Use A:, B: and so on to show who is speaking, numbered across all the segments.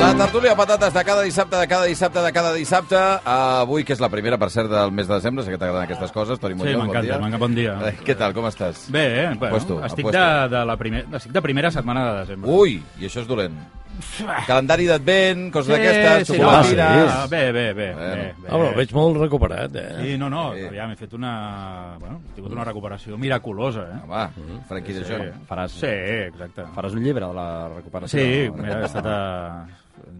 A: La tertúlia de patates de cada dissabte, de cada dissabte, de cada dissabte. Uh, avui, que és la primera, per cert, del mes de desembre, sé que t'agraden aquestes coses. Toni
B: Sí,
A: Montllor, bon
B: m'encanta,
A: dia.
B: m'encanta, bon dia.
A: Eh, Què tal, com estàs?
B: Bé, eh? Bueno,
A: Apuesto,
B: estic,
A: apuesto.
B: de, de la primer, estic de primera setmana de desembre.
A: Ui, i això és dolent. Calendari d'advent, coses d'aquestes,
B: sí, no, sí.
A: xocolatines...
B: Ah, bé, bé, bé.
A: Bueno.
B: bé, bé.
C: Ah, però el veig molt recuperat, eh?
B: Sí, no, no, aviam, he fet una... Bueno, he tingut una recuperació miraculosa, eh?
A: Ah, Va, Frankie de Jong.
D: Faràs,
B: Sí, exacte.
D: faràs un llibre de la recuperació.
B: Sí, mira, he estat a...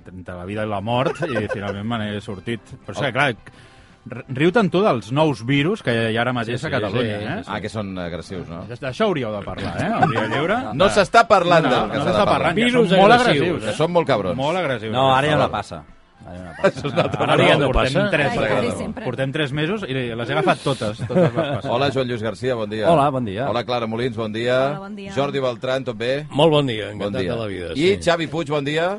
B: entre la vida i la mort i finalment me n'he sortit. Però és que, clar, r- riu tant tu dels nous virus que hi ha ara mateix
C: Sí, sí,
B: a Catalunya,
C: sí,
B: eh?
A: Ah, que són agressius, no?
B: D'això hauríeu de parlar, eh? El dia lliure.
A: No s'està parlant
B: no,
A: del que
B: no
A: s'ha de
B: s'està
A: parlar.
B: parlant, que
C: Virus
B: són molt
C: agressius,
B: agressius.
A: Que
B: eh?
A: són molt cabrons.
B: Molt agressius.
D: No, ara ja no
B: Però-
D: passa. Ara ja no passa.
A: Això és una altra
B: Ara
C: Ara
B: ja
C: ja
B: no
C: no
B: portem
C: passa?
B: Tres,
E: Ai,
B: portem-
E: sí, sempre.
B: portem tres mesos i les he agafat totes. totes les passes.
A: Hola, Joan Lluís Garcia, bon dia.
D: Hola, bon dia.
A: Hola, Clara Molins, bon dia.
E: Hola, bon dia.
A: Jordi Beltran, tot bé?
C: Molt bon dia,
A: Bon
C: encantat
A: dia.
C: de la vida.
A: I Xavi Puig, bon dia.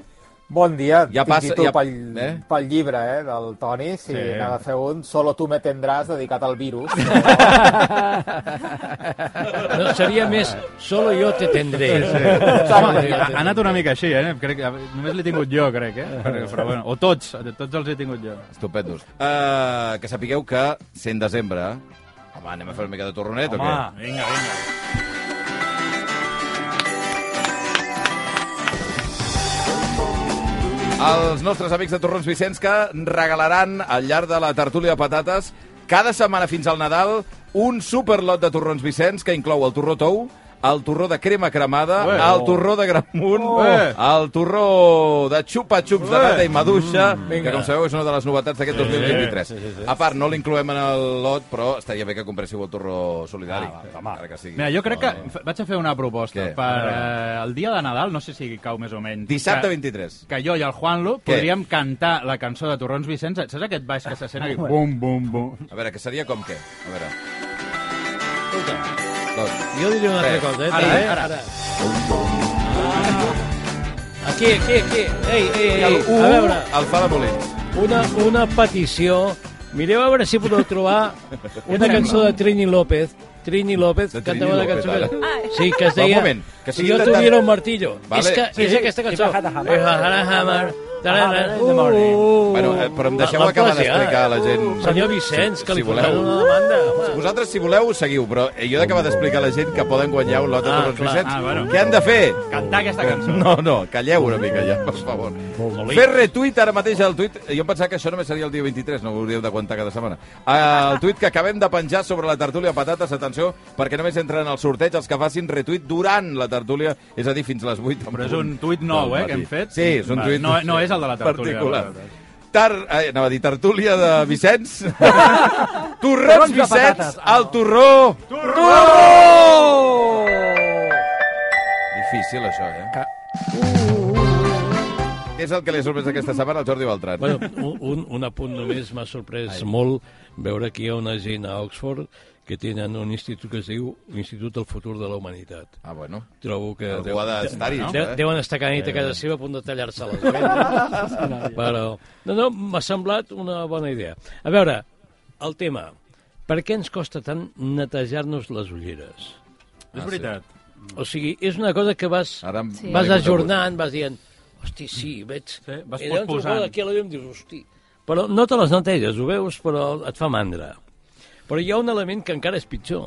F: Bon dia,
A: Ja
F: ja
A: passa-
F: passa,
A: ja-
F: ja... pel,
A: eh?
F: eh? pel llibre eh, del Toni,
B: Sí.
F: si sí. n'agafeu un, Solo tu me tendràs, dedicat al virus.
C: No, seria més Solo yo te tendré.
B: Home, ha ha anat una mica així, eh? Crec que només l'he tingut jo, crec, eh? Però, però bueno, o tots, tots els he tingut jo.
A: Estupendos. Uh, que sapigueu que, sent desembre... Home, anem a fer una mica de torronet o què?
B: vinga, vinga.
A: Els nostres amics de Torrons Vicenç que regalaran al llarg de la tertúlia de patates cada setmana fins al Nadal un superlot de Torrons Vicenç que inclou el torró tou, el torró de crema cremada,
B: Ué.
A: el torró de gramunt,
B: Ué.
A: el torró de xupa-xups de
B: Ué.
A: nata i maduixa,
B: Mm.
A: que com sabeu és una de les novetats d'aquest 2023. A part, no l'incloem en el lot, però estaria bé que compréssiu el torró solidari. encara que sigui.
B: Ah, Mira, jo crec que f- vaig a fer una proposta.
A: Què?
B: Per eh, el dia de Nadal, no sé si cau més o menys...
A: Dissabte
B: que-
A: 23.
B: que jo i el Juanlo
A: Què?
B: podríem cantar la cançó de Torrons Vicenç. Saps aquest baix que se sent aquí? Bum, bum, bum.
A: A veure, que seria com què? A veure.
C: Jo diré una altra
A: Bé,
C: cosa, eh?
B: ara,
C: també,
B: eh, ara.
C: Ah. Aquí, aquí, aquí. Ei, ei, ei.
A: U,
C: A veure,
A: el fa de Molins.
C: una, una petició. Mireu a veure si podeu trobar una cançó de Trini López. Trini López
A: De
C: cantava
A: Trini
C: una cançó
A: López,
C: que...
E: ara.
C: Sí, que es
A: Va, un
C: deia...
A: moment, que
C: si
A: sigui
C: jo
A: de-
C: tuviera un martillo.
A: Vale.
C: És que és aquesta cançó.
F: I Bajada Hammer.
C: I Bajada Hammer. Tarara.
F: In the morning.
C: Uh,
A: Bueno, eh, però em deixeu
C: La- la
A: acabar
C: poesia.
A: d'explicar a la gent...
C: Senyor Vicenç, que
A: Si
C: li portarà
A: voleu.
C: una demanda. home.
A: Vosaltres, si voleu, seguiu, però eh, jo he d'acabar d'explicar a la gent que poden guanyar un lot de
C: Ah,
A: Torrons
C: clar.
A: Vicenç.
B: Ah, bueno.
A: Què han de fer?
B: Cantar aquesta cançó.
A: No, no, calleu una mica ja, per favor. Fer retuit ara mateix al tuit... Jo em pensava que això només seria el dia 23, no ho hauríeu d'aguantar cada setmana. Ah, El tuit que acabem de penjar sobre la tertúlia de patates, atenció, perquè només entren al sorteig els que facin retuit durant la tertúlia, és a dir, fins les 8.
B: Però és un tuit nou, eh, que hem fet.
A: Sí, és un
B: Va,
A: tuit...
B: no- no és el de la tertúlia,
A: Particular.
B: la veritat.
A: Tar... Eh, anava a dir tertúlia de Vicenç. Torrons Vicenç, el torró! Torró! Difícil, això, eh? Què és el que li ha sorprès aquesta setmana al Jordi Beltran?
C: Bueno, un- un, un apunt només m'ha sorprès molt veure que hi ha una gent a Oxford que tenen un institut que es diu l'Institut del Futur de la Humanitat.
A: Ah, bueno.
C: Trobo que...
A: Algú ha d'estar-hi,
C: de,
A: això, eh?
C: deuen estar cada nit a casa seva a punt de tallar-se les venes. Però, no, no, m'ha semblat una bona idea. A veure, el tema. Per què ens costa tant netejar-nos les ulleres?
B: És veritat.
C: O sigui, és una cosa que vas,
A: Ah, Ara em-
E: Sí.
C: vas ajornant, vas dient, hosti, sí, veig...
B: Sí, vas
C: I llavors
B: posposant.
C: Aquí a la llum dius, hosti... Però no te les neteges, ho veus, però et fa mandra. Però hi ha un element que encara és pitjor,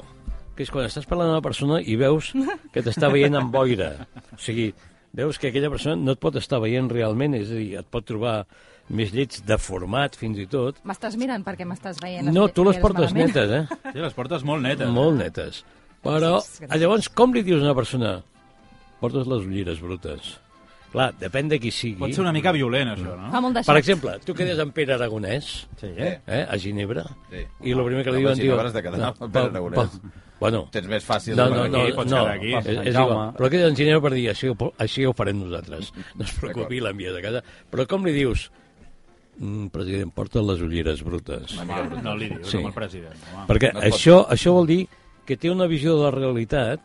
C: que és quan estàs parlant amb una persona i veus que t'està veient amb boira. O sigui, veus que aquella persona no et pot estar veient realment, és a dir, et pot trobar més llets deformat, fins i tot.
E: M'estàs mirant perquè m'estàs veient.
C: No, tu les
E: ulleres
C: portes
E: malament.
C: netes, eh?
B: Sí, les portes molt netes.
C: Molt netes. Però,
E: Sí, sí, sí.
C: llavors, com li dius a una persona? Portes les ulleres brutes. Clar, depèn de qui sigui.
B: Pot ser una mica violent, això,
G: Fa
B: no?
G: molt de
C: Per
G: xoc.
C: exemple, tu quedes amb Pere Aragonès
B: Sí, eh?
C: eh, a Ginebra
A: Sí.
C: i el primer
A: No,
C: que
A: a
C: li diuen...
A: Ginebra
C: diuen,
A: has de quedar amb Pere
C: pa-
A: Aragonès.
C: pa- Bueno,
A: Tens més fàcil.
C: no, no,
A: per
C: no,
A: aquí.
B: aquí, pots
C: no,
B: quedar aquí.
C: és, és
D: Jaume.
C: igual. Però queda en Ginebra per dir, així, ho po- així ho farem nosaltres. No es preocupi, l'envies a casa. Però com li dius? Mm, president, porta les ulleres brutes.
B: Va, no li dius,
C: Sí.
B: sí. amb el president. Home.
C: Perquè
A: Ah, No es pot.
C: això, això vol dir que té una visió de la realitat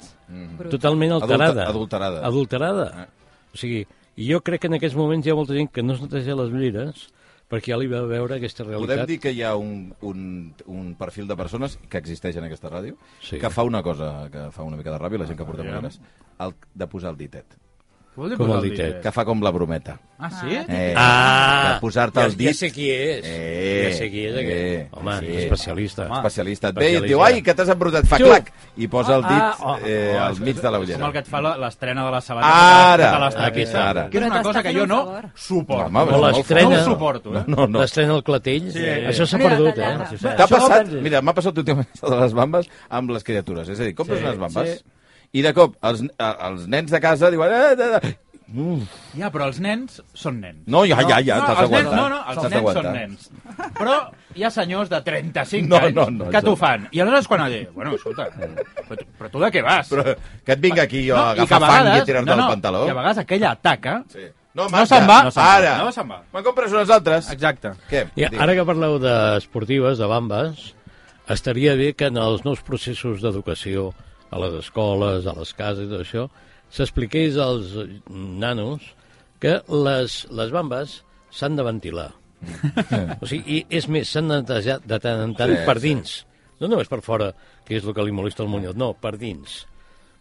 C: totalment alterada.
A: Mm. adulterada. Eh.
C: Adulterada. O sigui, jo crec que en aquests moments hi ha molta gent que no es neteja les ulleres perquè ja li va veure aquesta
A: Podem
C: realitat.
A: dir que hi ha un, un, un perfil de persones que existeix en aquesta ràdio
C: Sí.
A: que fa una cosa que fa una mica de ràbia la gent que porta ulleres, el de posar el ditet,
B: Vol dir
C: Com
B: posar
C: el ditet.
A: que fa com la brometa.
B: Ah, sí?
A: Eh,
C: Ah!
A: de posar-te
C: ja,
A: el dit.
C: Ja sé qui és.
A: Eh,
C: ja sé qui és
A: eh,
C: aquest. Home,
A: sí.
C: especialista.
A: especialista et ve i et
C: Especialista.
A: diu, ai, que t'has embrutat, fa
C: Xup!
A: clac, i posa el dit
B: oh,
A: eh,
B: oh,
A: al
B: és-
A: mig de la
B: és Com el
A: ullera.
B: que et fa la- l'estrena de la sabata.
A: Ara!
B: Que te l'està-
C: Aquí està.
A: Ara.
B: Que és una
G: Però
B: cosa
G: t'està
B: que
G: fent
B: jo
G: un
B: no
G: favor.
B: suporto.
A: Home,
C: O
A: no,
C: l'estrena.
B: No ho suporto, eh?
A: No, no.
C: L'estrena al clatell. Sí. Això s'ha
G: Mira,
C: perdut, eh?
G: tallada.
A: T'ha passat, mira, m'ha passat últimament això de les bambes amb les criatures. És a dir, compres
C: Sí,
A: unes bambes i de cop els, eh, els nens de casa diuen... Eh, eh, eh. Uf,
B: Ja, però els nens són nens.
A: no, ah, ja, ja, ja,
B: no,
A: t'has
B: els nens,
A: d'aguantar.
B: no, no, els
A: T'has
B: nens són
A: d'aguantar.
B: nens. Però hi ha senyors de 35
A: No,
B: anys
A: no, no,
B: que t'ho
A: exacte.
B: fan. I aleshores quan allà, bueno, escolta, però, tu- però tu de què vas?
A: Però que et vingui aquí jo a
B: i
A: agafar
B: que a
A: fang i
B: vegades-
A: a tirar-te
B: no, no,
A: del pantaló.
B: I a vegades aquella ataca...
A: Sí. No,
B: No se'n va,
A: no ara.
B: no se'n va.
A: Me'n compres unes altres.
B: Exacte.
A: Què?
C: I
A: Digue.
C: ara que parleu d'esportives, de bambes, estaria bé que en els nous processos d'educació a les escoles, a les cases i tot això, s'expliqués als nanos que les, les bambes s'han de ventilar. o sigui, i és més, s'han de netejar de tant en tant
A: Sí,
C: per
A: sí.
C: dins. No només per fora, que és el que li molesta al Muñoz, no, per dins.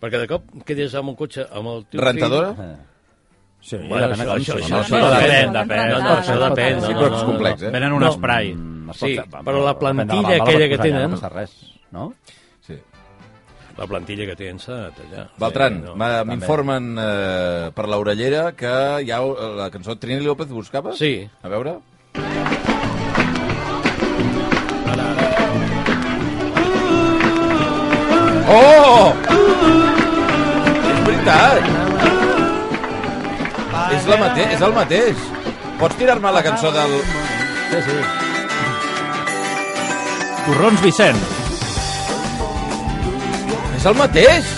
C: Perquè de cop quedes amb un cotxe amb el teu fill-
A: Rentadora?
B: Sí,
C: Bueno, això, això,
A: no,
C: això,
A: no,
C: això,
A: no,
C: depèn,
G: no,
C: depèn. No,
G: no,
C: no, això
G: no,
C: depèn.
G: no,
C: no,
G: sí,
C: no,
A: però
C: no,
A: és
C: no.
A: complex, eh?
B: Venen un esprai.
C: Sí, però la plantilla aquella que tenen...
D: No passa res, no?
A: Sí.
C: La plantilla que tens s'ha de tallar.
A: Beltran,
C: Sí, no.
A: ma- m'informen eh, per l'orellera que hi ha eh, la cançó Trini López, buscava?
C: Sí.
A: A veure... Oh! És veritat! És, la mate és el mateix. Pots tirar-me la cançó del...
B: Corrons Vicent.
A: És el mateix!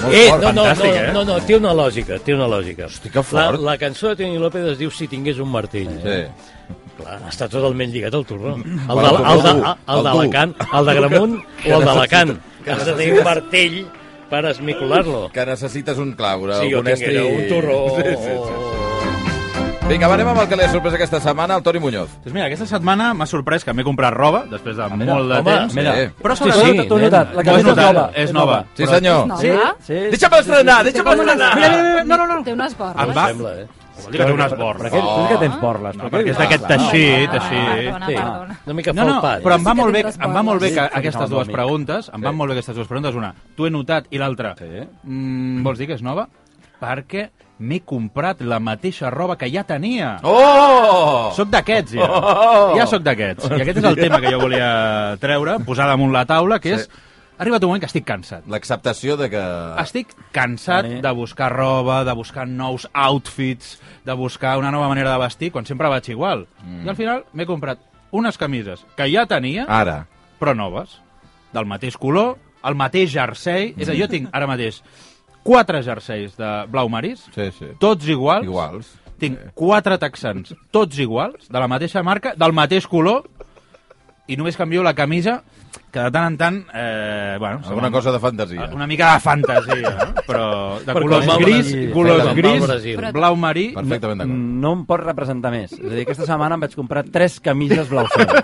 A: Molt
C: Eh,
A: fort,
C: no, no, no,
B: fantàstic, eh?
C: no, no, té una lògica, té una lògica. Hosti,
A: que fort.
C: La, la cançó de Toni López es diu Si tingués un martell.
A: Sí. Mm.
C: Clar, està totalment lligat al torró. El
A: Bueno, tu,
C: de, el de,
A: tu,
C: el
A: el tu.
C: d'Alacant, el de Gramunt o el d'Alacant.
A: que
C: Has de tenir un martell per esmicular-lo.
A: Que necessites un claure,
C: Sí, jo
A: un estri...
C: tinguera un torró.
A: Sí, sí, sí. Vinga, va, anem amb el que li ha sorprès aquesta setmana, el Toni Muñoz.
B: Doncs mira, aquesta setmana m'ha sorprès que m'he comprat roba, després de molt de
C: home,
B: temps.
A: mira.
B: Però
C: Sí,
B: sobretot...
C: sí,
B: t'ho he
C: nena.
B: notat,
C: Ho
B: la camisa és nova. És nova.
A: Sí, senyor.
G: No,
B: Sí?
G: va?
D: Sí.
A: Deixa'm estrenar, deixa'm estrenar!
B: Mira, mira, mira, no, no, no.
G: Té unes borles.
B: Em va...
C: Sembla, eh? Ah,
B: Vol dir que té un esbord.
D: Per què? Tu
A: Oh.
D: sí que tens borles.
B: No, perquè és d'aquest teixit, així... Ah.
G: Perdona,
C: Sí,
G: perdona.
C: una mica
B: No, no,
C: falpat.
B: però em va
G: Sí que
B: molt bé,
G: tindràs
B: em va molt bé que
G: borles.
B: aquestes dues preguntes, em van molt bé aquestes dues preguntes, una, t'ho he notat, i l'altra,
D: Sí.
B: mm, vols dir que és nova? Perquè m'he comprat la mateixa roba que ja tenia.
A: Oh!
B: Soc d'aquests, ja. Ja sóc d'aquests. I aquest és el tema que jo volia treure, posar damunt la taula, que és... Ha arribat un moment que estic cansat.
A: L'acceptació de que...
D: Ah,
B: Estic cansat de buscar roba, de buscar nous outfits, de buscar una nova manera de vestir, quan sempre vaig igual. I al final m'he comprat unes camises que ja tenia,
A: Ara.
B: però noves, del mateix color, el mateix jersei. És a dir, jo tinc ara mateix quatre jerseis de blau marís,
A: Sí, sí.
B: tots iguals.
A: Iguals.
B: Tinc quatre texans, tots iguals, de la mateixa marca, del mateix color, i només canvio la camisa, que de tant en tant... Eh, bueno, se
A: Alguna
B: m'en-
A: cosa de fantasia.
D: Ah,
B: una mica de fantasia, no? però de
C: Perquè
B: colors
C: el Mau
B: gris,
C: Brasil.
B: colors
A: Perquè el Mau
B: gris,
C: Brasil.
B: blau marí...
A: Perfectament d'acord.
D: Mm, No em pots representar més. És a dir, aquesta setmana em vaig comprar tres camises blau cel.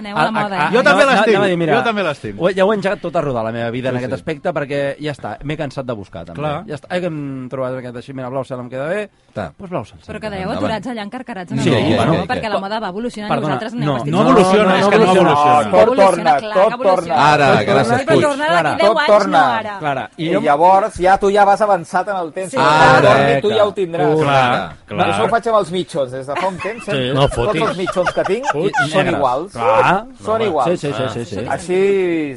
G: Aneu
D: Ah,
G: a la moda, eh?
B: Jo també les tinc,
D: anava a dir,
B: jo també les tinc.
D: ho he- Ja ho he engegat tot a rodar, la meva vida, en aquest aspecte, perquè ja està, m'he cansat de buscar, també.
B: Clar.
D: Ja està, eh, que hem trobat aquest així, mira, blau cel em queda bé,
A: Ta.
D: doncs pues blau cel.
G: Però quedeu
A: Endavant.
G: aturats allà encarcarats en
D: Sí,
G: el moment,
D: bueno.
G: no? perquè la moda va evolucionant i
D: Perdona,
G: vosaltres aneu
D: no,
G: vestits.
B: No evoluciona, és que no
F: No,
B: evoluciona.
F: tot torna,
G: clar, que
F: tot torna.
G: evoluciona.
A: Ara,
F: Tot
A: gràcies,
G: Però
F: torna.
A: Puig.
G: tornarà
D: Clara,
G: d'aquí 10
F: tot
G: anys,
F: torna.
G: no ara.
D: Clara,
F: I,
D: i jo...
F: llavors ja tu ja vas avançat en el temps.
G: Sí.
F: Sí.
A: Ara,
F: tu ja ho tindràs.
D: Uh,
B: Clar,
F: Clar. Això ho
B: clar.
F: faig amb els mitjons, des de fa un temps. eh?
C: Sí. No fotis.
F: Tots els mitjons que tinc
D: Fotis.
F: són
D: Negres.
F: iguals.
D: Clar.
F: Són
D: Sí,
F: iguals.
D: sí, sí, sí, sí.
F: Així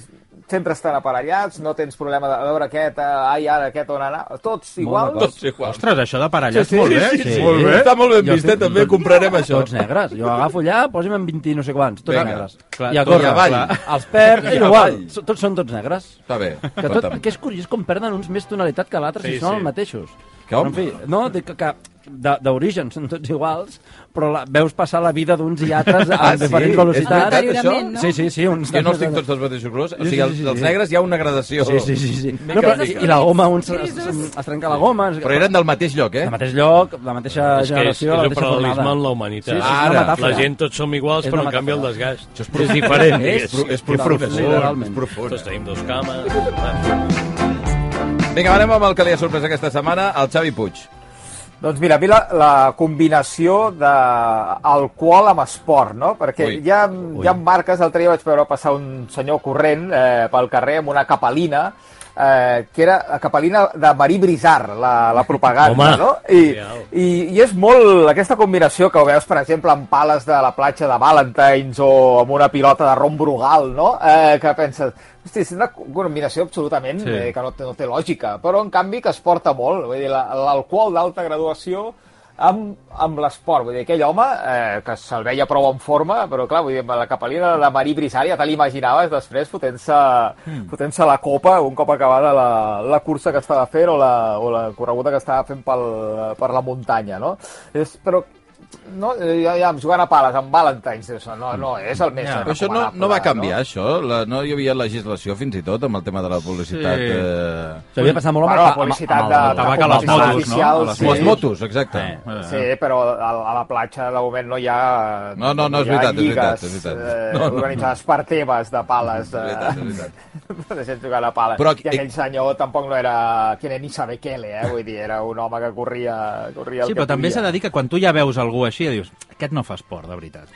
F: sempre estan aparellats, no tens problema de a veure aquest, eh, ai, ara aquest on anar, tots igual.
A: Tots iguals.
B: Ostres, això de parellats,
A: Sí, sí,
B: molt bé.
A: sí, sí. Molt bé. Està molt ben vist, eh? També comprarem això.
D: Tots negres. Jo agafo allà, posa'm en 20 i no sé quants. Tots
A: Vinga.
D: negres.
A: Clar,
D: I a
A: tot i
D: córrer.
A: avall.
D: Els perds,
A: I
D: és igual.
A: avall.
D: so- Tots són tots negres.
A: Està bé.
D: Que, tot,
A: escolta'm.
D: que és curiós com perden uns més tonalitat que l'altre
B: Sí,
D: si són
B: sí.
D: els mateixos.
A: Com?
D: Però, En fi, no, dic que, que de- d'origen són tots iguals, però la, veus passar la vida d'uns i altres a
A: Ah, sí?
D: diferents
A: És
D: velocitats.
A: veritat, això?
G: Deteriorament, no?
D: Sí, sí, sí. Uns
A: Jo no els tinc tots dels mateixos colors. O sigui, els, els negres hi ha una gradació.
D: Sí, sí, sí. sí.
A: Mica
D: No, però,
A: en mica.
D: I la goma, uns es, es, es trenca la goma. Es,
A: Però eren del mateix lloc, eh?
D: del mateix lloc, la mateixa
C: És que és,
D: generació,
C: és
D: la
C: el
D: mateixa
C: paral·lelisme
D: jornada.
C: en la humanitat.
D: Sí, sí,
A: Ara,
D: és una metàfora.
C: La gent tots som iguals,
D: És
C: però
D: una
C: en canvi el
D: metàfora.
C: desgast és,
A: És,
C: diferent. diguéssim.
A: pro- és profund.
D: profund,
A: És
D: literalment.
A: profund.
C: Tots tenim dos cames.
A: Vinga, va, anem amb el que li ha sorprès aquesta setmana, el Xavi Puig.
F: Doncs mira, a mi la, la combinació d'alcohol amb esport, no? Perquè
A: Ui.
F: hi ha, hi ha marques, l'altre dia vaig veure passar un senyor corrent eh, pel carrer amb una capelina, eh, que era la capelina de Marí Brizar, la, la propaganda,
C: Home.
F: no? I,
C: Real.
F: i, I és molt aquesta combinació que ho veus, per exemple, amb pales de la platja de Valentines o amb una pilota de rom brugal, no? Eh, que penses, hosti, és una combinació absolutament
B: Sí.
F: sí. eh, que no, té- no té lògica, però en canvi que es porta molt, vull dir, la- l'alcohol d'alta graduació amb, amb l'esport, vull dir, aquell home eh, que se'l veia prou en forma, però clar, vull dir, amb la capelina de Marí Brissar ja te l'imaginaves després fotent-se
B: Hmm.
F: mm. fotent la copa un cop acabada la, la cursa que estava fent o la, o la correguda que estava fent pel, per la muntanya, no? És, però no, ja, ja, jugant a pales, amb Valentine's, això, no, no, és el més
A: Però això no, no va canviar, això? La, no hi havia legislació, fins i tot, amb el tema de la publicitat...
B: Sí.
A: Eh...
D: S'havia passat molt
F: Bueno,
D: amb,
F: la
D: amb- amb-
F: publicitat
D: amb
F: de,
D: el-
F: de
B: tabac a les
F: publicitat
B: motos, no?
F: oficial,
B: A les
A: Sí. Les motos, exacte.
B: Eh.
A: Eh.
F: Sí, però a, a la platja de moment no hi ha...
A: No, no, no, és
F: hi ha
A: veritat, és
F: lligues,
A: veritat, és veritat.
F: Eh,
A: No, no, no.
F: organitzades per teves de pales.
A: És veritat, és veritat.
F: veritat. De gent jugant a pales.
A: Però- eh,
F: Però, I aquell senyor tampoc no era... Que era ni saber què le, eh? Vull dir, era un home que corria, corria el
B: Sí,
F: que
B: però també s'ha
F: podia.
B: de dir que quan tu ja veus algú així, dius, aquest no fa esport, de veritat.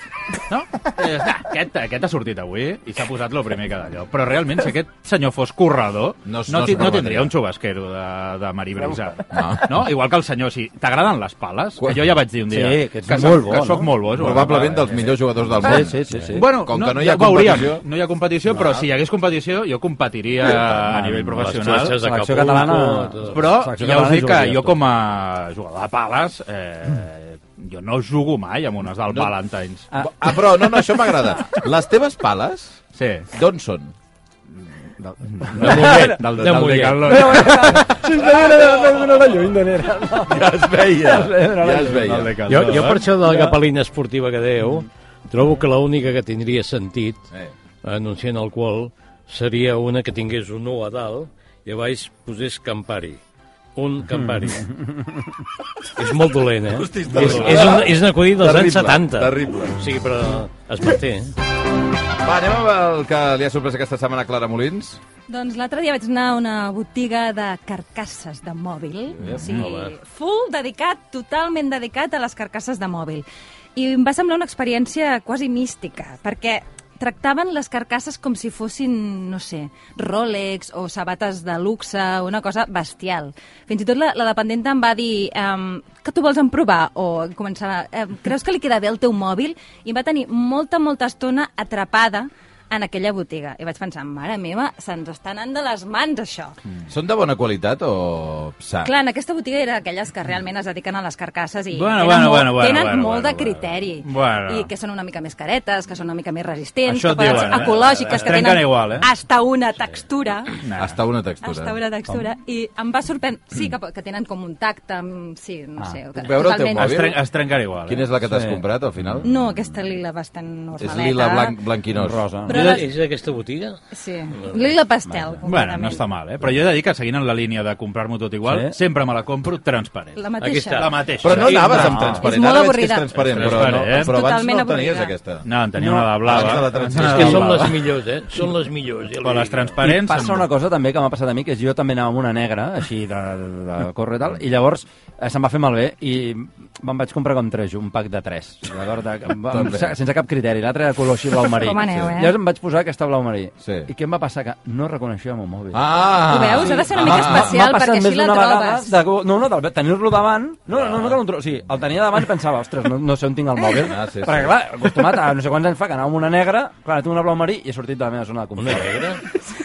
B: No? I dius, "Ah, aquest, aquest ha sortit avui i s'ha posat lo primer que d'allò. Però realment, si aquest senyor fos corredor,
A: No
B: no,
A: es-
B: no,
A: no
B: ti-
A: es
B: no
A: provaria.
B: tindria un xubasquero de, de Marí Brisa. No. no? Igual que el senyor, si t'agraden les pales,
A: Quan-
B: que jo ja vaig dir un dia
D: Sí, que ets
B: soc-
D: molt bo,
B: que soc
D: no?
B: molt bo. és una
A: Probablement
B: pala, eh?
A: dels millors jugadors del món.
D: Sí, sí, sí, sí.
B: Bueno,
A: Com
B: no,
A: que no hi ha
B: ja ho veuríem.
A: competició...
B: No hi ha competició, però si hi hagués competició, jo competiria
C: Ah,
B: a nivell professional.
C: platges
D: Selecció
C: d'Acapulco,
D: catalana-
C: tot.
B: Però
D: Selecció
B: ja us
D: catalana
B: dic que
D: jugaria
B: jo
D: tot.
B: com a jugador de pales eh, jo no jugo mai amb unes del
A: No.
B: Valentines.
A: Ah. ah, però no, no, això m'agrada. Les teves pales,
B: Sí.
A: d'on són?
B: Del Mollet. Del, del,
C: De
B: del
C: Mollet.
B: Decathlon.
A: Ja es veia, ja es veia.
B: Del Decathlon.
C: Jo, jo per això de la capelina esportiva que dèieu, trobo que l'única que tindria sentit,
A: Eh.
C: anunciant alcohol, seria una que tingués un 1 a dalt i a baix posés Campari. Un Campari. és molt dolent, eh?
A: Hosti, està
C: és,
A: dolent.
C: és, un, és un acudit dels
A: Terrible,
C: anys 70.
A: terrible.
C: O sigui, però es manté. eh?
A: Va, anem amb el que li ha sorprès aquesta setmana a Clara Molins.
G: Doncs l'altre dia vaig anar a una botiga de carcasses de mòbil. o sigui, full dedicat, totalment dedicat a les carcasses de mòbil. I em va semblar una experiència quasi mística, perquè tractaven les carcasses com si fossin, no sé, Rolex o sabates de luxe, una cosa bestial. Fins i tot la, la dependenta em va dir um, que tu vols en provar? O començava, um, creus que li queda bé el teu mòbil? I em va tenir molta, molta estona atrapada en aquella botiga. I vaig pensar, mare meva, se'ns està anant de les mans, això. Mm.
A: Són de bona qualitat o psa?
G: Clar, en aquesta botiga era d'aquelles que realment es dediquen a les carcasses i
B: Bueno,
G: tenen
B: bueno,
G: molt,
B: bueno, bueno,
G: tenen
B: bueno,
G: molt
B: bueno,
G: de criteri.
B: bueno. Bueno.
G: I que són una mica més caretes, que són una mica més resistents,
B: Això
G: que
B: et
G: poden
B: diuen,
G: ser
B: eh? Es
G: ecològiques, que
B: trenquen
G: tenen
B: igual, eh?
G: hasta una textura.
A: Hasta una textura.
G: Hasta una textura. I em va sorprendre... Sí, que, que tenen com un tacte, mm, sí, no sé... Que,
A: Puc veure el teu
B: Es,
A: mòbil?
B: tren, es trencarà igual.
A: Quina és la que t'has comprat, al final?
G: No, aquesta lila bastant normaleta.
A: És lila blanc, blanquinós.
D: Rosa.
G: Però
C: és,
G: les-
C: és d'aquesta botiga?
G: Sí, lila pastel,
B: Bueno, no
G: concretament.
B: està mal, eh? Però jo he de dir que seguint en la línia de comprar-m'ho tot igual,
D: Sí.
B: sempre me la compro transparent.
G: La
C: Aquí
G: mateixa.
C: està.
B: La mateixa.
A: Però no anaves
B: Sí,
A: amb
B: no.
A: transparent.
G: És molt
A: Ara veig que és
G: avorrida.
A: transparent, però, no,
B: Transparent.
A: però abans
G: Totalment
A: no tenies
G: avorrida.
A: aquesta.
B: No, en tenia una de blava.
A: Abans de la transparent.
B: Abans
C: Que
B: de la
C: són les
B: blava.
C: millors, eh? Són les millors. Ja
B: Ah, Però les transparents...
D: Passa
B: em-
D: una cosa també que m'ha passat a mi, que és jo també anava amb una negra, així de, de, de córrer i tal, i llavors eh, se'm va fer malbé i me'n vaig comprar com tres, un pack de tres, d'acord? De- em va- em-
A: També.
D: se- Sense cap criteri, l'altre era color així blau marí.
G: Com aneu, eh?
D: Llavors em vaig posar aquesta blau marí.
A: Sí.
D: I què em va passar? Que no reconeixia el meu mòbil.
A: Ah!
G: Ho veus? Ha de ser una mica
D: M'ha- m'ha
G: especial
D: passat
G: perquè així
D: més
G: la
D: d'una
G: trobes.
D: vegada De, no, no, de tenir-lo davant... No, no, no, que no el trobo. Sí, el tenia davant i pensava, ostres, no, no sé on tinc el mòbil.
A: Ah, sí, sí.
D: Perquè, clar, acostumat a no sé quants anys fa que anava amb una negra, clar, tinc una blau marí i he sortit de la meva zona de
C: Una
D: confort.
C: negra?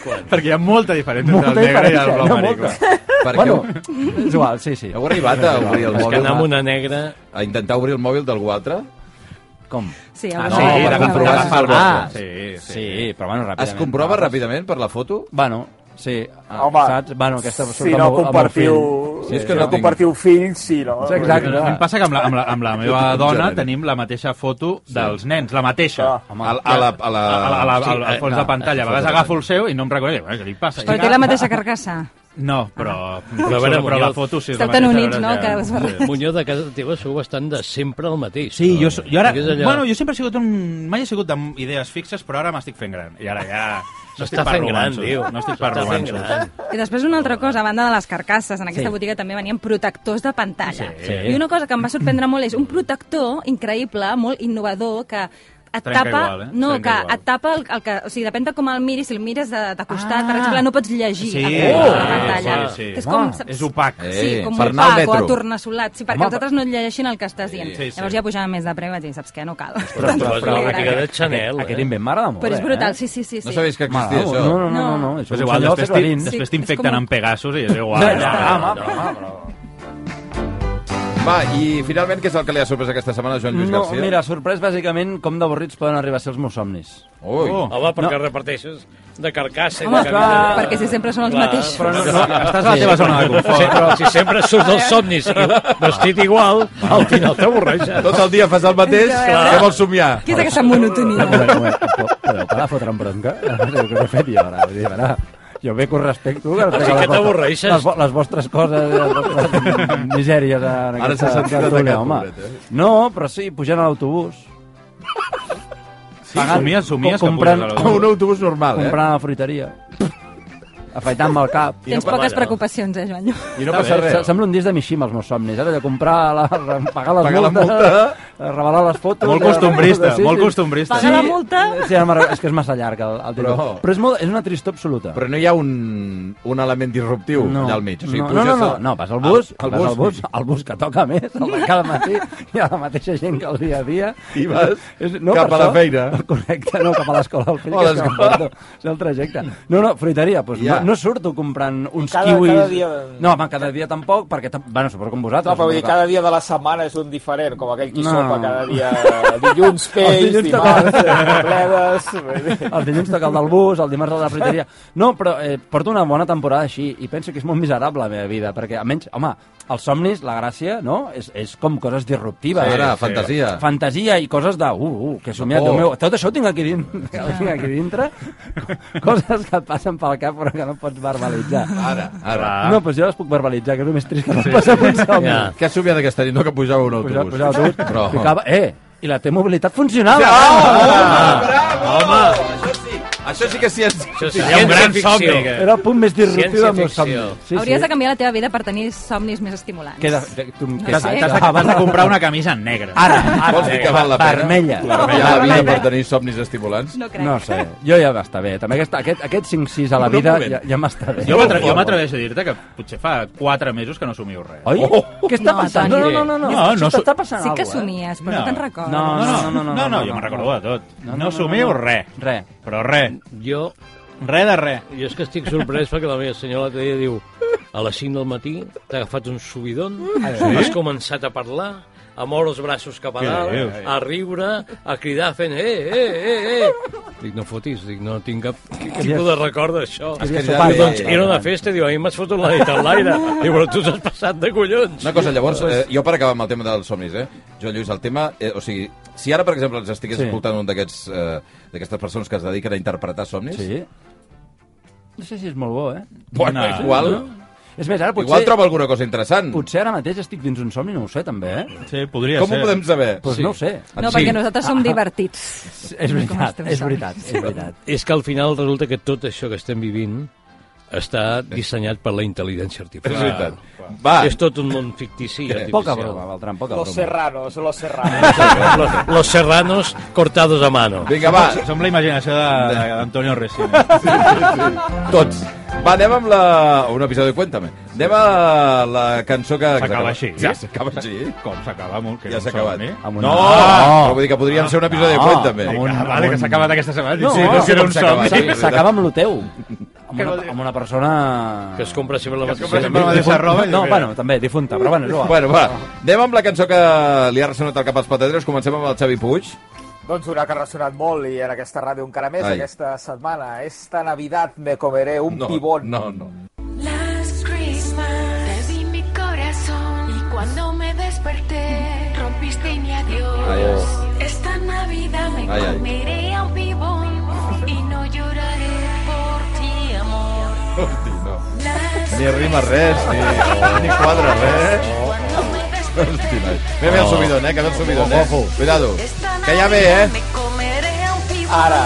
C: Quan?
B: Perquè hi ha molta diferència
D: Molta
B: entre el negre i el
D: diferència,
B: blau
D: no,
B: marí.
D: molta.
B: clar.
A: Perquè
D: Bueno, és igual, sí, sí.
A: Heu arribat a obrir el
C: És que
A: mòbil,
C: anar amb una negra...
A: a intentar obrir el mòbil d'algú altre?
D: Com?
G: Sí,
D: Ah,
G: algú
D: no,
G: sí,
D: per
G: algú
D: comprovar
G: algú.
D: si se'l
A: Ah,
D: vol.
A: sí.
B: Sí, sí.
D: Sí, però bueno, ràpidament.
A: Es comprova ràpidament per la foto?
D: Bueno, sí. ah,
F: Home,
D: saps? Bueno, aquesta surt
F: si
D: amb
F: no
D: el- amb el
F: compartiu,
D: fill.
A: Sí, és
F: si
A: que
F: no
A: no tinc-
F: compartiu fills, sí, no?
D: Sí, exacte.
B: A mi em passa que amb la, amb la, amb la meva dona tenim la mateixa foto dels nens, la mateixa.
F: Ah.
D: Home,
A: a, a la, a la...
B: A, a, a, a,
D: Sí,
B: al, al
D: eh,
B: fons
D: no,
B: de pantalla. A vegades agafo el seu i no em reconeix. Bueno, Què li passa?
G: Però té la mateixa carcassa.
B: No, però,
C: a
B: però,
C: veure,
B: però la
C: Muñoz-
B: foto sí és
G: Esteu
B: la
G: tan
B: mateixa,
G: units, no?,
B: llavors
G: que us barregeu.
B: Sí.
C: Munyó de casa teva sou bastant de sempre el mateix.
B: Sí, jo, so- jo ara...
C: Perquè és allò-
B: Bueno, jo sempre he sigut un... Mai he sigut amb idees fixes, però ara m'estic fent gran. I ara ja... No estic
C: S'està
B: per
C: fent gran,
B: romanços.
C: tio.
B: No estic per
C: S'està fent
B: romanços.
C: gran.
G: I després una altra cosa, a banda de les carcasses, en aquesta
C: Sí.
G: botiga també venien protectors de pantalla.
D: Sí.
G: I una cosa que em va sorprendre molt és un protector increïble, molt innovador, que et
B: Trenca
G: tapa,
B: igual, eh?
G: no,
B: Trenca
G: que
B: igual.
G: et tapa el, el que, o sigui, depèn de com el miris, si el mires de, de costat,
B: Ah.
G: per exemple, no pots llegir
B: Sí.
G: a través de la
C: Oh.
G: pantalla.
C: Sí,
B: sí.
G: Que és com,
D: Ah,
G: saps?
B: És opac.
A: Eh,
G: Sí, com
A: per
G: un
A: anar al
G: pac o
A: metro.
G: a tornassolat. Sí, perquè
D: Home,
G: els altres no et llegeixin el que estàs dient.
B: Sí, sí.
G: Llavors ja pujava més de preu i vaig dir, saps què, no cal.
C: Però, però,
G: Però
C: però,
G: era-
C: botiga de Chanel,
D: Aquest
C: eh?
D: invent m'agrada molt,
G: Però és brutal,
D: eh?
G: sí, sí, sí. sí.
A: No sabéis que
D: Mare,
A: existia això?
D: no, no, no, no, no.
B: Però és igual, després
D: t'hi...
B: t'in- després
G: Sí, és
B: t'infecten
G: com-
B: amb Pegasus i és
C: Ah,
B: igual.
D: Ja,
B: No,
D: ja,
B: no,
D: home, home, però...
A: Va, i finalment, què és el que li ha sorprès aquesta setmana a Joan Lluís
D: No,
A: García?
D: mira, sorprès bàsicament com d'avorrits poden arribar a ser els meus somnis.
A: Ui,
B: Oh.
C: Home, perquè reparteixes de carcassa. i
G: Home,
C: de
G: clar,
C: camisa-
G: perquè si sempre són els
C: Clar,
G: mateixos.
C: però no-
D: no,
B: Estàs a la teva zona de
C: Sí,
B: confort.
C: però si sempre surts dels somnis i vestit igual, al final t'avorreixes.
A: Tot el dia fas el mateix,
G: Clar.
A: què vols somiar?
G: Què és aquesta monotonia?
D: Podeu parar de fotre'm bronca? El que he fet jo ara, vull dir, ara... Jo bé que us respecto. Que
C: sigui que t'avorreixes.
D: Les, vo- les vostres coses, les vostres misèries. En
A: Ara s'ha
D: aquesta
A: sentit
D: tertúlia,
A: atacat,
D: home.
A: pobret, eh?
D: No, però sí, pujant a l'autobús.
B: Sí, somies, somies que
D: comprant-
B: puges a
A: Com
B: la...
A: un autobús normal, eh?
D: comprant a la fruiteria. Afaitant-me el cap.
G: Tens poques preocupacions, eh, Joan?
A: I no passa
D: Se-
A: res.
D: Sembla un disc de Mishima, els meus somnis. Ara de comprar, la, pagar les
A: Pagar la
D: multes,
A: multa.
D: eh, revelar les fotos...
B: Molt
D: eh,
B: costumbrista,
D: sí, sí.
B: molt costumbrista.
G: Pagar la multa?
D: Sí, ara m'arriba- és que és massa llarg el, el títol. Però,
A: Però-
D: però és, molt, és una tristor absoluta.
A: Però no hi ha un, un element disruptiu
D: no,
A: allà al mig. O sigui,
D: no, no,
A: puges
D: no, no,
A: a-
D: no, vas al bus,
A: al
D: vas
A: bus.
D: al bus, al bus que toca més, el de cada matí, hi ha la mateixa gent que el dia a dia.
A: I vas
D: És-
A: cap
D: per
A: a la
D: això-
A: feina.
D: Correcte, no, cap a l'escola del fill,
A: O
D: que és,
A: l'escola.
D: que em porto. és el trajecte. No, no, fruiteria, doncs
A: Ja.
D: no, no surto comprant uns
F: Cada-
D: kiwis...
F: cada dia-
D: No, home, cada dia tampoc, perquè, tam- bueno, suposo com vosaltres.
F: No, però vull dir,
D: suposo que-
F: cada dia de la setmana és un diferent, com aquell qui
D: No.
F: no. sopa cada dia dilluns,
D: Els
F: peix,
D: dilluns
F: dimarts,
D: toca-
F: eh, bledes... vull dir.
D: El dilluns toca el del bus, el dimarts el de la fruiteria... No, però eh, porto una bona temporada així i penso que és molt miserable la meva vida, perquè almenys, home, els somnis, la gràcia, no?, és, és com coses disruptives.
A: Ara,
D: Eh,
A: fantasia.
D: fantasia i coses de... Uh, uh, que he somiat,
A: Oh.
D: Déu meu. Tot això ho tinc aquí dintre. Ho tinc aquí dintre. Coses que et passen pel cap però que no pots verbalitzar.
A: Ara, ara.
D: No, doncs jo les puc verbalitzar, que és el més trist que em passa amb un somni.
C: Ja.
B: Ah.
A: Què has somiat aquesta nit? No que pujava un
D: Pujar,
A: autobús.
D: pujar el dut,
A: Però...
D: ficava... Eh, i la T-mobilitat funcionava!
A: Ah. Això sí que sí és...
C: Això és
B: Hi ha un gran
C: ciència-ficció.
B: somni. que-
D: Era el punt més disruptiu del meu somni.
C: Ciència-ficció.
D: Sí,
G: Hauries
D: sí.
G: de canviar la teva vida per tenir somnis més estimulants.
D: Que de, de, tu, que
G: No
D: saps?
G: sé.
B: T'has de, t'has de comprar una camisa negra.
D: Ah, Ara, ara. eh,
A: Vols dir que val la pena?
D: Vermella.
A: Vermella la vida per tenir somnis estimulants?
G: No crec.
D: No sé, jo ja m'està bé. També aquest, aquest, aquest 5-6 a la
A: Un
D: vida
A: moment.
D: ja, ja m'està bé.
B: Jo m'atre- jo m'atreveixo a dir-te que potser fa 4 mesos que no somio res.
D: Oi?
A: Oh!
D: Què està
G: No,
D: passant?
G: Toni.
D: no, no.
B: No, no
D: S'està-
B: so-
D: Està passant
G: Sí que
D: alguna eh?
G: somies, però no,
B: No.
G: te'n recordes.
D: Ah, No,
B: No, no,
D: no, no,
B: no,
D: no,
B: jo
D: no,
B: me'n
D: no.
B: recordo de tot.
D: No, no,
B: No
D: no,
B: somio
D: no.
B: res.
D: Res.
B: Però res.
C: Jo,
B: Res de res.
C: jo és que estic sorprès perquè la meva senyora l'altre dia diu a les 5 del matí t'ha agafat un subidon, has començat a parlar, a moure els braços cap a
B: Què
C: dalt,
B: dius?
C: a riure, a cridar fent eh, eh, eh, eh. Dic, no fotis, dic, no tinc cap tipus de record d'això.
D: Havia
A: que ja
D: sopat,
A: ve-
C: Doncs
D: eh,
C: era una festa, diu, a mi m'has fotut la nit en l'aire. Diu, però tu t'has passat de collons.
A: Una cosa, llavors, eh, jo per acabar amb el tema dels somnis, eh? Joan Lluís, el tema... Eh, o sigui, si ara, per exemple, ens estigués
D: Sí.
A: escoltant un d'aquests, eh, d'aquestes persones que es dediquen a interpretar somnis...
D: Sí. No sé si és molt bo, eh?
A: Bueno,
B: No.
A: igual...
D: És més, ara potser...
A: Igual troba alguna cosa interessant.
D: Potser ara mateix estic dins un somni, no ho sé, també, eh?
B: Sí, podria
A: Com
B: ser.
A: ho podem saber?
D: Doncs no ho sé.
G: No, perquè nosaltres som divertits.
D: És veritat, és veritat, és veritat.
C: És que al final resulta que tot això que estem vivint està dissenyat per la intel·ligència
A: És
C: artificial.
A: veritat. Va,
C: És tot un món fictici. i
D: Poca
C: artificial.
D: broma, Beltran, poca
F: Los
D: broma.
F: serranos, los serranos.
C: Los, los serranos cortados a mano.
A: vinga, va,
B: Som la imaginació de- de- d'Antonio Resina.
A: tots. Va, anem amb la... Un episodi, cuéntame. Anem a la cançó que...
B: S'acaba així.
A: Ja, s'acaba així.
B: Com s'acaba? Molt, que
A: Ja s'ha acabat.
D: Amb
A: No!
D: una-
A: Però vull dir que podríem ser un episodi,
D: No.
A: cuéntame.
D: Amb
B: Ah, vale, que s'ha acabat aquesta setmana.
D: No,
B: sí, no,
D: no,
B: que era un
A: s'ha acabat.
B: somni.
A: Sí,
D: S'ha-
A: és
D: S'acaba amb lo teu. Amb una, amb una persona...
C: Que es compra sempre la mateixa.
B: sempre la mateixa roba i
D: No,
B: diu,
D: bueno, també, difunta, però bueno, és igual.
A: Bueno, va, anem amb la cançó que li ha ressonat al cap als patateros. Comencem amb el Xavi Puig.
F: doncs una que ha ressonat molt i en aquesta ràdio encara més
A: Ai.
F: aquesta setmana. Esta Navidad me comeré un
A: No,
F: pibón.
A: no, no.
E: Last Christmas te di mi corazón y cuando me desperté rompiste y mi adiós.
A: Ay,
E: Esta Navidad me
A: Ay, ay.
E: comeré a un pibón y no lloraré por ti, amor.
A: Hosti, no.
E: Last
A: Ni rima res, ni, ni quadra res.
E: cuando me
A: Hosti,
E: desperté
A: noi. Ve, ve el subidon, eh, que ve el subidon, eh. Cuidado,
E: esta
A: que ja ve,
E: Navidad
A: eh.
E: me comeré a un pibón
F: Ara.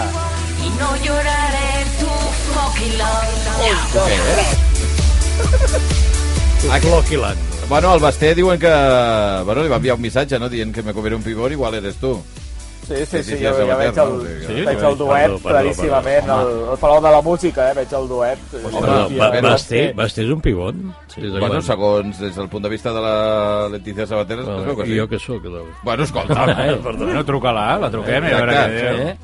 E: y no lloraré tu fucking love.
C: Cloquiland.
A: Bueno, al Basté diuen que... Bueno, li va enviar un missatge, no?, dient que me comeré un pibón, igual eres tu.
F: Sí,
A: Sí,
F: sí,
A: sí,
F: sí,
A: sí,
F: jo,
A: és
F: jo
A: Sabater,
F: veig el,
A: no? Sí,
F: sí,
A: sí,
F: veig
C: jo
F: el
C: veig.
F: duet
C: Perdó, perdó,
F: claríssimament, el, el Palau de la Música, eh? veig el duet.
C: Home,
F: Sí,
C: va,
F: el
C: va,
F: Basté.
C: Basté, Basté és un pivot. Sí,
A: Bueno, segons, des del punt de vista de la Letizia Sabater, es veu que sí.
C: jo que sóc. doncs.
A: Bueno, escolta,
C: Eh, perdó.
B: Bueno, truca-la, la truquem i a veure
A: Exacte,
B: què diu.
D: Eh?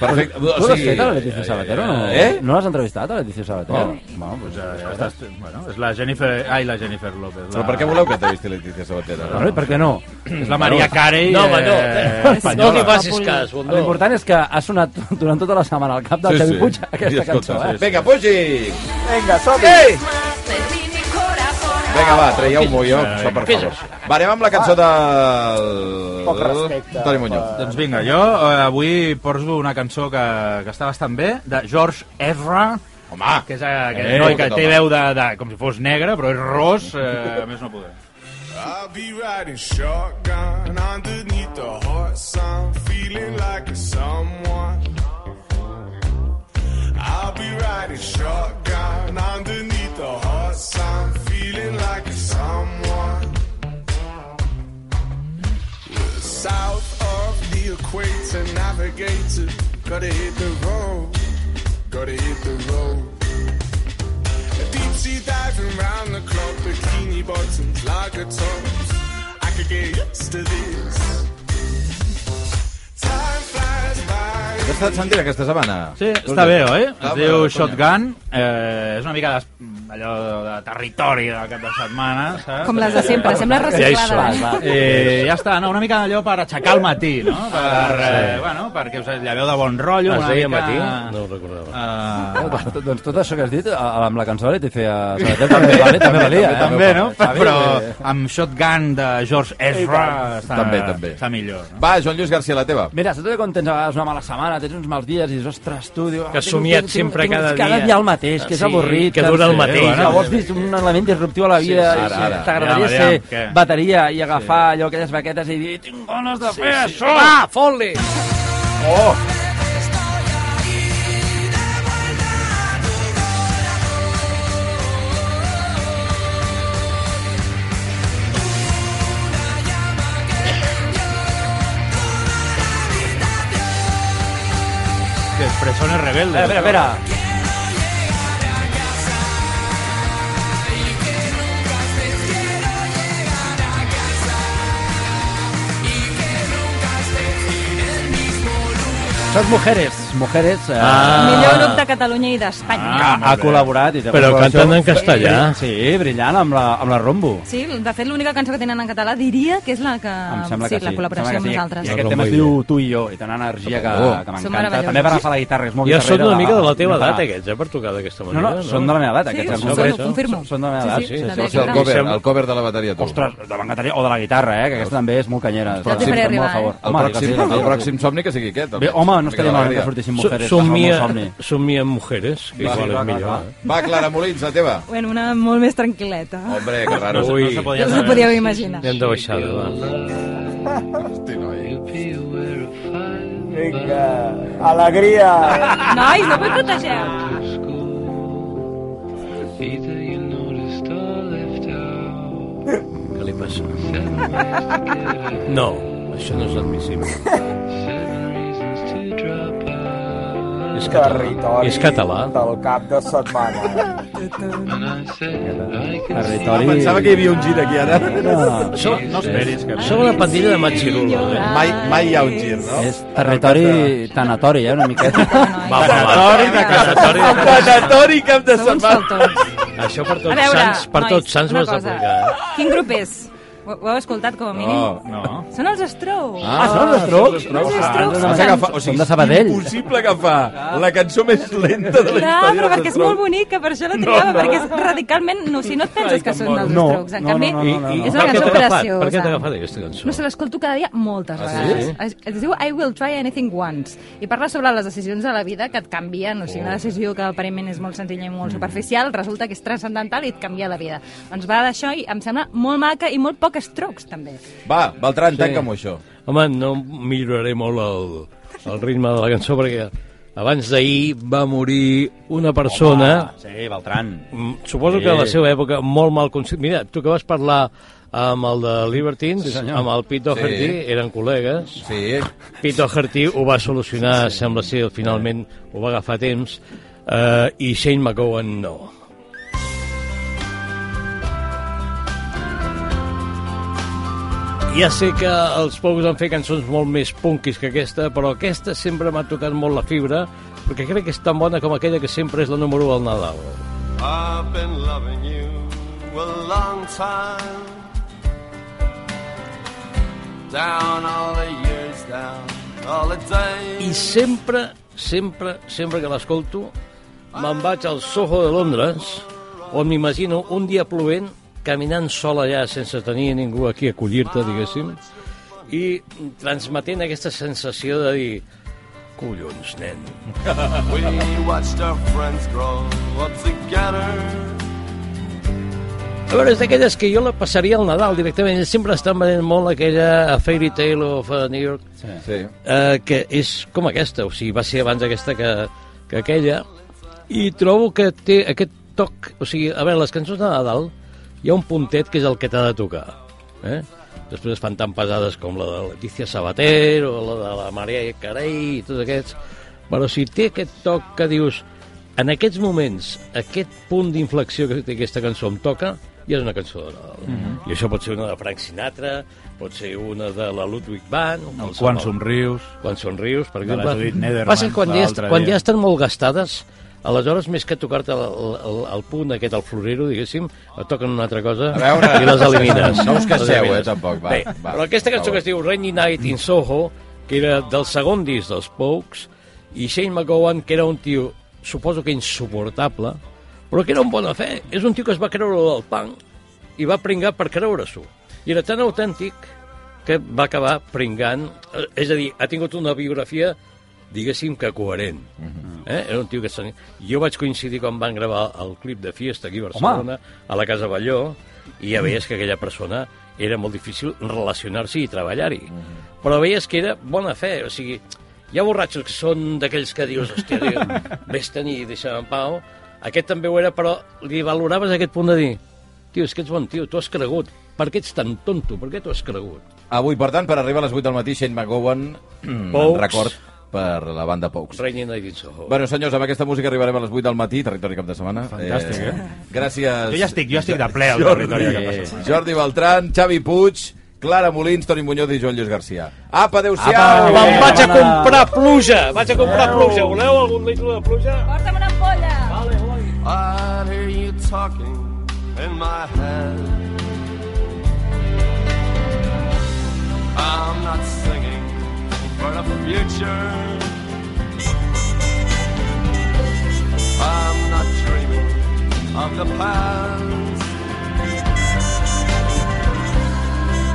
A: perfecte.
D: Tu
A: O
D: l'has
A: sigui,
D: fet a la Leticia Sabater o no?
A: Eh?
D: No l'has entrevistat, a la Leticia Sabater?
A: No.
D: Bueno, doncs,
B: Ja estàs- Bueno, és la Jennifer... Ai, la Jennifer López. La...
A: però per què voleu que entrevisti Letizia Sabater?
D: no, i per què no?
B: És la Maria Carey
C: No, home, no.
B: eh,
C: No li
B: espanyola.
C: facis cas, Bondó.
D: L'important és que ha sonat durant tota la setmana al cap del Xavi Puig aquesta cançó, eh?
A: Vinga, pugi!
F: Vinga, som
A: Ei!
E: Te di mi corazón.
A: Vinga, va, traieu-m'ho jo, això, per favor. Va, anem amb la cançó del...
F: Poc respecte.
A: Toni Muñoz.
B: Doncs vinga, jo eh, avui porto una cançó que, que està bastant bé, de George Ezra,
A: Home!
B: que és eh, aquest
A: Eh,
B: noi que
A: aquest
B: té
A: home.
B: veu de, de, com si fos negre, però és ros, eh, a més no poder.
H: I'll be riding shotgun underneath the hot sun, feeling like a someone. I'll be riding shotgun underneath the hot sun, feeling like a someone. South of the equator, navigator, gotta hit the road, gotta hit the road. Deep sea diving round the clock, bikini bottoms, lager tops. I could get used to this. Time flies by.
A: L'he estat sentint aquesta setmana. Doncs
B: Sí, està bé, oi?
A: Està
B: Es
A: bé,
B: diu
A: conya.
B: Shotgun, eh, és una mica des, allò de territori del cap de setmana, saps?
G: Com les de sempre, sembla reciclada.
D: som.
G: eh?
B: Eh, ja està, no, una mica allò per aixecar el matí, no? Per, eh, bueno, perquè us lleveu de bon rotllo,
C: Es
B: una
C: deia
B: mica...
C: matí? No ho recordava.
B: Eh,
D: Tot- Doncs tot això que has dit, a- amb la cançó de Leticia Sabater també valia, també valia, eh?
B: també, no?
D: Xavi,
B: Però
D: eh,
B: amb Shotgun de George Ezra està,
A: També, també.
B: està millor. No?
A: Va, Joan Lluís García, la teva.
D: Mira, saps allò quan tens a vegades una mala setmana, tens uns mals dies i dius, ostres, tu... Diu, ah,
C: Que
D: tinc-
C: somiat
D: tinc-
C: sempre
D: tinc-
C: cada
D: Cada
C: dia.
D: dia el mateix, que és
C: Sí,
D: avorrit.
C: que dura el mateix.
D: Bueno, llavors vist un element disruptiu a la vida.
A: sí,
D: i
A: sí, ara.
D: T'agradaria
B: Aviam, aviam,
D: ser
B: què?
D: bateria i agafar allò, aquelles baquetes i dir, tinc ganes de fer això!
C: Va, fot-li!
B: Que és Pressones Rebeldes.
D: Espera, espera, espera. Són mujeres, mujeres. Eh,
C: Ah.
G: Millor grup de Catalunya i d'Espanya.
D: ha, ha col·laborat i té
C: Però
D: col·laboració.
C: canten en castellà.
D: Sí, brillant amb la, amb la Rombo.
G: Sí, de fet, l'única cançó que tenen en català diria que és la que...
D: Em sembla
G: sí,
D: que sí.
G: la col·laboració
D: Em
G: amb
D: sembla que sí.
G: nosaltres.
D: I
C: No,
D: aquest
C: no,
D: tema es
C: molt
D: diu Tu i jo, i té una energia que,
A: Oh.
D: que
G: Són
D: m'encanta.
G: meravellosos.
D: També van agafar la guitarra, és molt
C: Ja
D: guitarrera,
C: són una mica de la teva
D: guitarra.
C: edat, aquests, eh, per tocar d'aquesta
D: No,
C: manera.
D: no, són de la meva edat,
G: Sí,
D: aquests.
G: ho
D: els
C: sono,
D: mujeres.
C: ho
G: confirmo.
D: Són de la meva
G: Sí,
D: edat.
G: sí,
D: sí,
G: la
A: És
D: sí, sí.
A: el cover, el cover de la bateria. tu.
D: Ostres, de bancateria o de la guitarra, eh? Que aquesta també és molt canyera.
G: Ja t'hi faré arribar,
A: El
G: eh?
A: pròxim,
D: digues,
A: el
D: digues.
A: pròxim somni que sigui aquest. el
D: Bé, home, no estaria
A: Miquel
D: malament que
A: Alegria.
C: So-
D: sortissin mujeres.
C: somia,
D: Somia... Somni.
C: somia amb mujeres, que
A: Va,
C: igual
A: sí, va,
C: és
A: va,
C: millor. eh?
A: Va, Clara Molins, la teva.
G: Bueno, una molt més tranquil·leta.
A: Hombre, que raro.
C: Ui,
B: No se
G: No
B: podia
G: us ho
B: saber.
G: podíeu imaginar.
C: anem de baixada, va.
A: Hosti, noi.
F: Vinga, alegria.
G: Nois, no boicotegeu.
E: Either you noticed or left out.
C: Què li passa? No, això no és admissible.
E: Seven reasons to drop out.
C: És català.
F: Territori
C: És català.
F: del cap de setmana.
E: And I said, I can see.
D: Territori...
A: Pensava que hi havia un gir aquí ara.
D: No,
C: Som,
B: No esperis que...
C: som una pandilla de matxirula. Eh?
A: Mai, mai hi ha un gir, no?
D: és territori tanatori, eh, una miqueta.
C: Va, va, va.
A: de
C: Tanatori de cap de
A: Tanatori cap de
G: Som uns faltons.
C: Això per
G: A
C: tots
G: veure,
C: sants, per
G: nois,
C: tots sants
G: una
C: m'has
G: cosa.
C: d'aplicar. eh?
G: Quin grup és? Ho, ho heu escoltat com a mínim?
A: No,
B: No.
G: Són els Strokes.
D: Ah, són els
G: Els
D: Strokes?
A: Has
G: Strokes són-
A: d'agafar- o
D: Són
A: sigui,
D: de Sabadell.
A: és impossible agafar la cançó més lenta de la
G: Clar,
A: història.
G: però
A: dels
G: perquè és
A: Strokes.
G: molt bonica, per això la triava,
A: no.
G: perquè és radicalment... No, si no et penses que són dels
D: No,
G: Strokes, en
D: no,
G: canvi,
D: no, no, no, no.
G: és
C: Per
G: una
C: què
G: cançó
C: t'ha agafat?
G: preciosa.
C: Per què t'ha agafat aquesta cançó?
G: No se l'escolto cada dia moltes
A: Ah, sí?
G: vegades. Es, es diu I will try anything once i parla sobre les decisions de la vida que et canvien. O sigui,
A: Oh.
G: una decisió que aparentment és molt senzilla i
A: Mm.
G: molt superficial resulta que és transcendental i et canvia la vida. Ens va d'això i em sembla molt maca i molt poc estrocs, també.
A: Va, Beltran, tanca'm això.
C: Home, no milloraré molt el, el ritme de la cançó perquè abans d'ahir va morir una persona,
D: Sí, Beltran.
C: Home. suposo que a la seva època molt mal conscient. Mira, tu que vas parlar amb el de Libertines, sí, amb el Pete Doherty, sí. eren col·legues.
A: Sí.
C: Pete Doherty ho va solucionar, sembla ser, finalment ho va agafar a temps, eh, i Shane McGowan no. Ja sé que els pocs han fet cançons molt més punkis que aquesta, però aquesta sempre m'ha tocat molt la fibra, perquè crec que és tan bona com aquella que sempre és la número 1 al Nadal.
H: I've been loving you a long time. Down all the years, down all the days.
C: I sempre, sempre, sempre que l'escolto, me'n vaig al Soho de Londres, on m'imagino un dia plovent, caminant sol allà sense tenir ningú aquí a acollir-te, diguéssim, i transmetent aquesta sensació de dir collons, nen.
H: We watched our friends grow up together.
C: A veure, és d'aquelles que jo la passaria al Nadal directament. Sempre estan venent molt aquella A Fairy Tale of eh, New York.
A: Sí.
C: eh, que és com aquesta, o sigui, va ser abans aquesta que, que aquella, i trobo que té aquest toc, o sigui, a veure, les cançons de Nadal hi ha un puntet que és el que t'ha de tocar, eh? Després es fan tan pesades com la de Leticia Sabater o la de la Maria Carey i tots aquests, però si té aquest toc que dius en aquests moments, aquest punt d'inflexió que té aquesta cançó em toca, ja és una cançó de Nadal. Mm -hmm. I això pot ser una de Frank Sinatra, pot ser una de la Ludwig Van... o
B: Quan
C: qualsevol
B: somrius...
C: quan somrius, per
B: De la Judith
C: exemple.
B: Nederman,
C: Passa que quan, ja, est-
B: l'altre
C: quan
B: dia.
C: ja estan molt gastades, aleshores, més que tocar-te el, el, el, punt aquest, el florero, diguéssim, et toquen una altra cosa
A: veure,
C: i les elimines.
A: no us
C: Les
A: queixeu, eh,
C: elimines.
A: tampoc, va,
C: Bé,
A: va,
C: però aquesta
A: per
C: cançó que es diu Rainy Night in Soho, que era del segon disc dels Pokes, i Shane McGowan, que era un tio, suposo que insuportable, però que era un bona fe. És un tio que es va creure del punk i va pringar per creure-s'ho. I era tan autèntic que va acabar pringant... eh, És a dir, ha tingut una biografia, diguéssim, que coherent. Uh -huh. eh? Era un tio que... se- Jo vaig coincidir quan van gravar el clip de Fiesta aquí a Barcelona, Home. a la Casa Balló, i ja veies que aquella persona era molt difícil relacionar-s'hi i treballar-hi. Uh -huh. Però veies que era bona fe, o sigui... Hi ha borratxos que són d'aquells que dius, hòstia, Déu, vés-te'n i deixa'm en pau. Aquest també ho era, però li valoraves aquest punt de dir, tio, és que ets bon tio, tu has cregut. Per què ets tan tonto? Per què t'ho has cregut?
A: Avui, per tant, per arribar a les 8 del matí, Shane McGowan, mm, en
C: Pokes.
A: record per la banda Pokes.
C: Rainy Night in Soho.
A: Bueno, senyors, amb aquesta música arribarem a les 8 del matí, territori cap de setmana.
B: Fantàstic,
A: eh? Gràcies.
B: Jo ja estic, jo estic de ple al territori. que passa.
A: Jordi Beltran, Xavi Puig, Clara Molins, Toni Muñoz i Joan Lluís Garcia. Apa, adeu-siau!
D: Apa,
C: Me'n
D: Bona-
C: vaig a comprar pluja! Vaig a comprar pluja. Voleu algun litre de pluja?
G: Porta'm una ampolla!
H: I'd hear you talking in my head. I'm not singing for the future. I'm not dreaming of the past.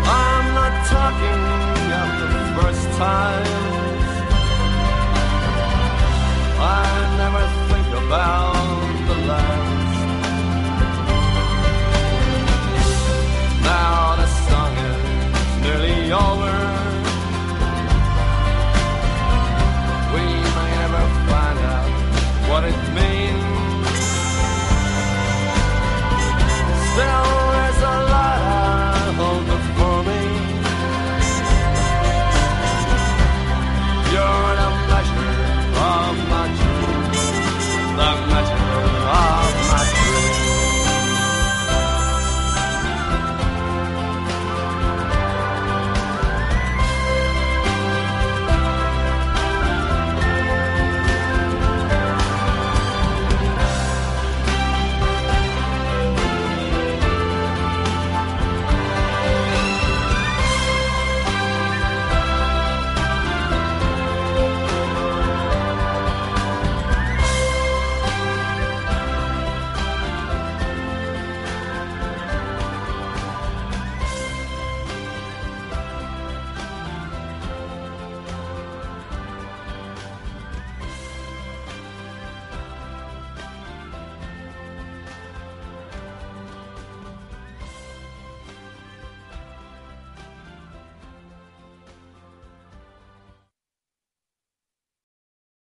H: I'm not talking of the first time. I never think about the last. Now the song is nearly over. We may never find out what it means. down